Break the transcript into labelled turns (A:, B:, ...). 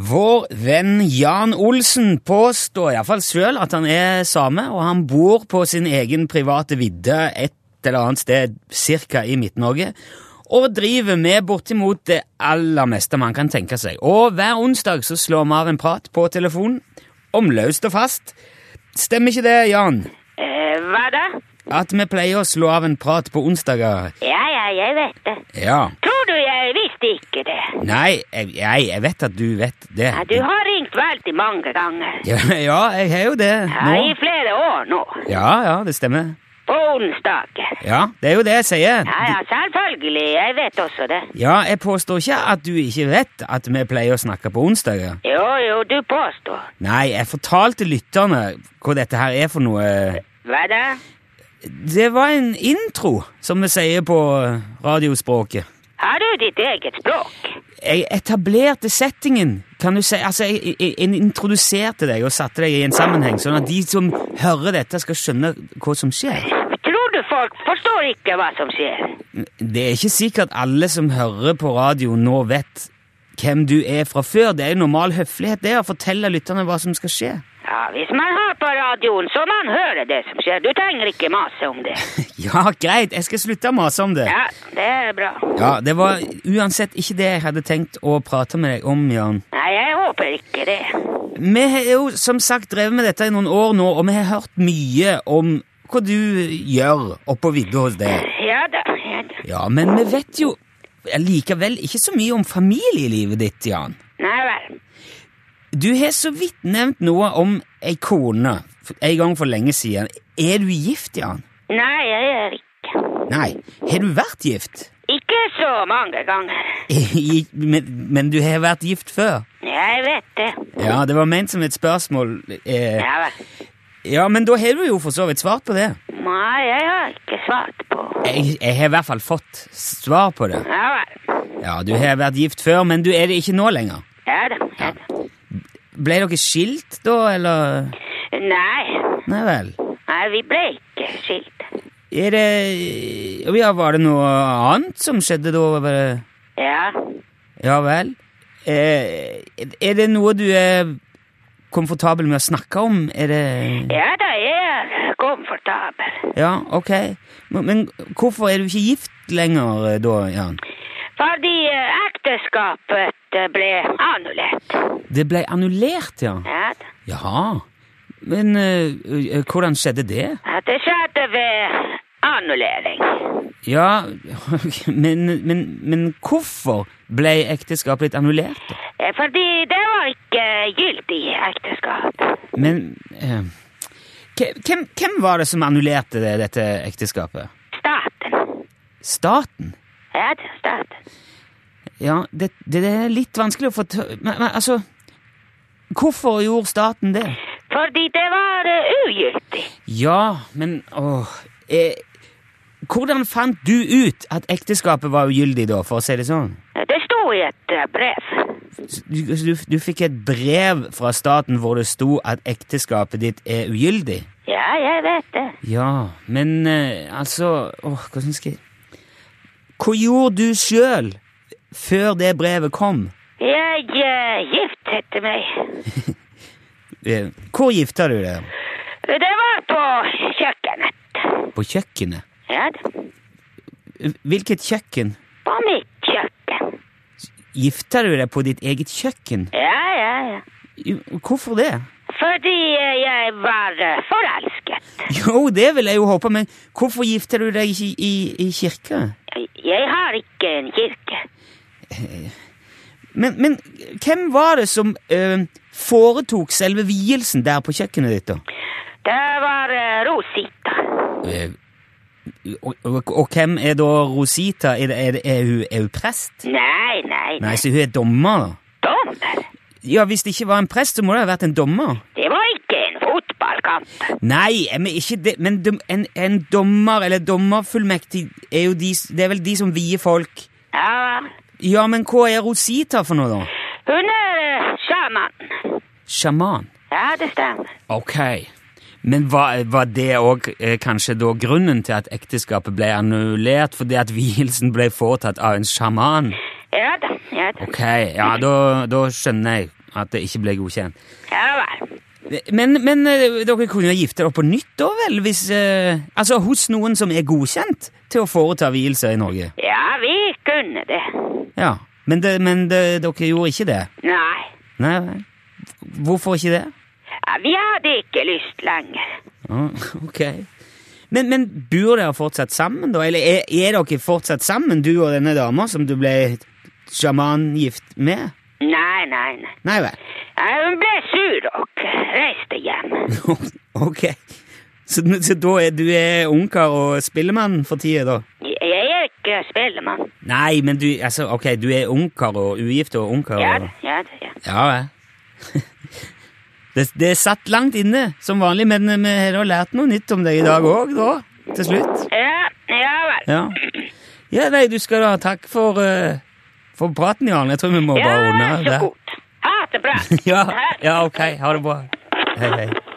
A: Vår venn Jan Olsen påstår iallfall sjøl at han er same, og han bor på sin egen private vidde et eller annet sted cirka i Midt-Norge, og driver med bortimot det aller meste man kan tenke seg. Og hver onsdag så slår vi av en prat på telefonen om løst og fast. Stemmer ikke det, Jan?
B: Eh, hva da?
A: At vi pleier å slå av en prat på onsdager?
B: Ja, ja, jeg vet det.
A: Ja.
B: Tror du jeg visste ikke det?
A: Nei, jeg, jeg, jeg vet at du vet det.
B: Ja, du har ringt veldig mange ganger.
A: Ja, ja, jeg har jo det
B: Ja, I
A: nå.
B: flere år nå.
A: Ja, ja, det stemmer.
B: På onsdager.
A: Ja, det er jo det jeg sier.
B: Ja, ja, selvfølgelig. Jeg vet også det.
A: Ja, jeg påstår ikke at du ikke vet at vi pleier å snakke på onsdager.
B: Jo, jo, du påstår.
A: Nei, jeg fortalte lytterne hva dette her er for noe.
B: Hva da?
A: Det var en intro, som vi sier på radiospråket.
B: Har du ditt eget språk?
A: Jeg etablerte settingen, kan du si. Altså, jeg, jeg, jeg introduserte deg og satte deg i en sammenheng, sånn at de som hører dette, skal skjønne hva som skjer.
B: Tror du folk forstår ikke hva som skjer?
A: Det er ikke sikkert alle som hører på radio nå vet hvem du er fra før. Det er jo normal høflighet det å fortelle lytterne hva som skal skje.
B: Ja, Hvis man hører på radioen, så man hører det som skjer. Du trenger ikke mase om det.
A: Ja, greit, jeg skal slutte å mase om det.
B: Ja, det er bra.
A: Ja, Det var uansett ikke det jeg hadde tenkt å prate med deg om, Jan.
B: Nei, jeg håper ikke det.
A: Vi har jo som sagt drevet med dette i noen år nå, og vi har hørt mye om hva du gjør oppå vidda hos deg.
B: Ja da. Ja da.
A: Ja, Men vi vet jo likevel ikke så mye om familielivet ditt, Jan.
B: Nei vel.
A: Du har så vidt nevnt noe om ei kone en gang for lenge siden. Er du gift, Jan?
B: Nei, jeg er ikke.
A: Nei. Har du vært gift?
B: Ikke så mange ganger.
A: I- men, men du har vært gift før?
B: Jeg vet det.
A: Ja, det var ment som et spørsmål. Eh,
B: Ja vel.
A: ja, men da har du jo for så vidt svart på det.
B: Nei, jeg har ikke svart på.
A: Jeg, jeg har i hvert fall fått svar på det.
B: Ja vel.
A: Ja, Du har vært gift før, men du er det ikke nå lenger.
B: Ja da. Ja da.
A: Ble dere skilt da, eller?
B: Nei.
A: Nei vel.
B: Nei, vi ble ikke skilt.
A: Er det Ja, var det noe annet som skjedde da? Var det...
B: Ja.
A: Ja vel. Eh, er det noe du er komfortabel med å snakke om? Er det
B: Ja da, jeg er komfortabel.
A: Ja, ok. Men, men hvorfor er du ikke gift lenger eh, da, Jan?
B: Fordi eh, ekteskapet eh, ble annullert.
A: Det ble annullert, ja.
B: Ja da.
A: Jaha. Men eh, eh, hvordan skjedde det?
B: At det skjedde ved annullering.
A: Ja, men, men, men hvorfor ble ekteskapet ditt annullert? da?
B: Eh, Fordi det var ikke gyldig ekteskap.
A: Men eh, hve- hvem, hvem var det som annullerte det, dette ekteskapet?
B: Staten.
A: Staten?
B: Ja, det er staten.
A: Ja, det, det er litt vanskelig å få tø... Men, men altså Hvorfor gjorde staten det?
B: Fordi det var eh, ugyldig.
A: Ja, men åh eh, Hvordan fant du ut at ekteskapet var ugyldig, da, for å si det sånn?
B: Det sto i et eh, brev.
A: Du, du, du fikk et brev fra staten hvor det sto at ekteskapet ditt er ugyldig?
B: Ja, jeg vet det.
A: Ja, men eh, altså åh, Hvordan skal jeg Hva gjorde du sjøl før det brevet kom?
B: Jeg eh, giftet meg.
A: Eh, Hvor gifta du deg?
B: Det var på kjøkkenet.
A: På kjøkkenet?
B: Ja da.
A: Hvilket kjøkken?
B: På mitt kjøkken.
A: Gifter du deg på ditt eget kjøkken?
B: Ja, ja, ja.
A: Jo, Hvorfor det?
B: Fordi eh, jeg var eh, forelsket.
A: Jo, det vil jeg jo håpe, men hvorfor gifter du deg ikke i, i kirke?
B: Jeg har ikke en kirke.
A: Men, men hvem var det som eh, foretok selve vielsen der på kjøkkenet ditt, da?
B: Det var eh, Rosita.
A: Eh, og, og, og hvem er da Rosita? Er, det, er, det, er, hun, er hun prest?
B: Nei, nei,
A: Nei, så hun er dommer, da?
B: dommer.
A: Ja, hvis det ikke var en prest, så må det ha vært en dommer.
B: Det var ikke en fotballkamp.
A: Nei, eh, men ikke det Men dom, en, en dommer, eller dommerfullmektig, er jo de Det er vel de som vier folk
B: Ja,
A: Ja, men hva er Rosita for noe, da?
B: hun er eh, sjaman.
A: Sjaman.
B: Ja, det stemmer.
A: Ok. Men var, var det òg eh, kanskje da grunnen til at ekteskapet ble annullert? Fordi at vielsen ble foretatt av en sjaman?
B: Ja da, ja da.
A: Ok, ja, da, da skjønner jeg. at det ikke ble godkjent.
B: Ja vel.
A: Men, men eh, dere kunne jo gifte dere på nytt da vel? Hvis, eh, altså hos noen som er godkjent til å foreta vielser i Norge?
B: Ja, vi kunne det.
A: Ja, men, det, men det, dere gjorde ikke det?
B: Nei.
A: Nei, vel. hvorfor ikke det?
B: Ja, vi hadde ikke lyst lenger.
A: Ja, ok. Men, men bor dere fortsatt sammen da? Eller er, er dere fortsatt sammen, du og denne dama som du ble sjamangift med?
B: Nei, nei, nei.
A: Nei vel.
B: Ja, hun ble sur og reiste hjem.
A: ok. Så, så da er du er ungkar og spillemann for tida, da?
B: Jeg er ikke spellemann.
A: Nei, men du altså, ok, du er ungkar og ugift og ungkar
B: Ja,
A: og
B: da, ja, da, ja.
A: Ja vel. det, det satt langt inne, som vanlig, men vi har da lært noe nytt om deg i dag òg, da. Til slutt.
B: Ja, ja vel.
A: Ja. ja, nei, du skal da ha takk for, eh, for praten, Jan. Jeg tror vi må
B: Ja,
A: bare runde av
B: så
A: der.
B: godt. Ha det bra.
A: Ja,
B: Ha det.
A: ja, ok. Ha det bra. Hei, hei.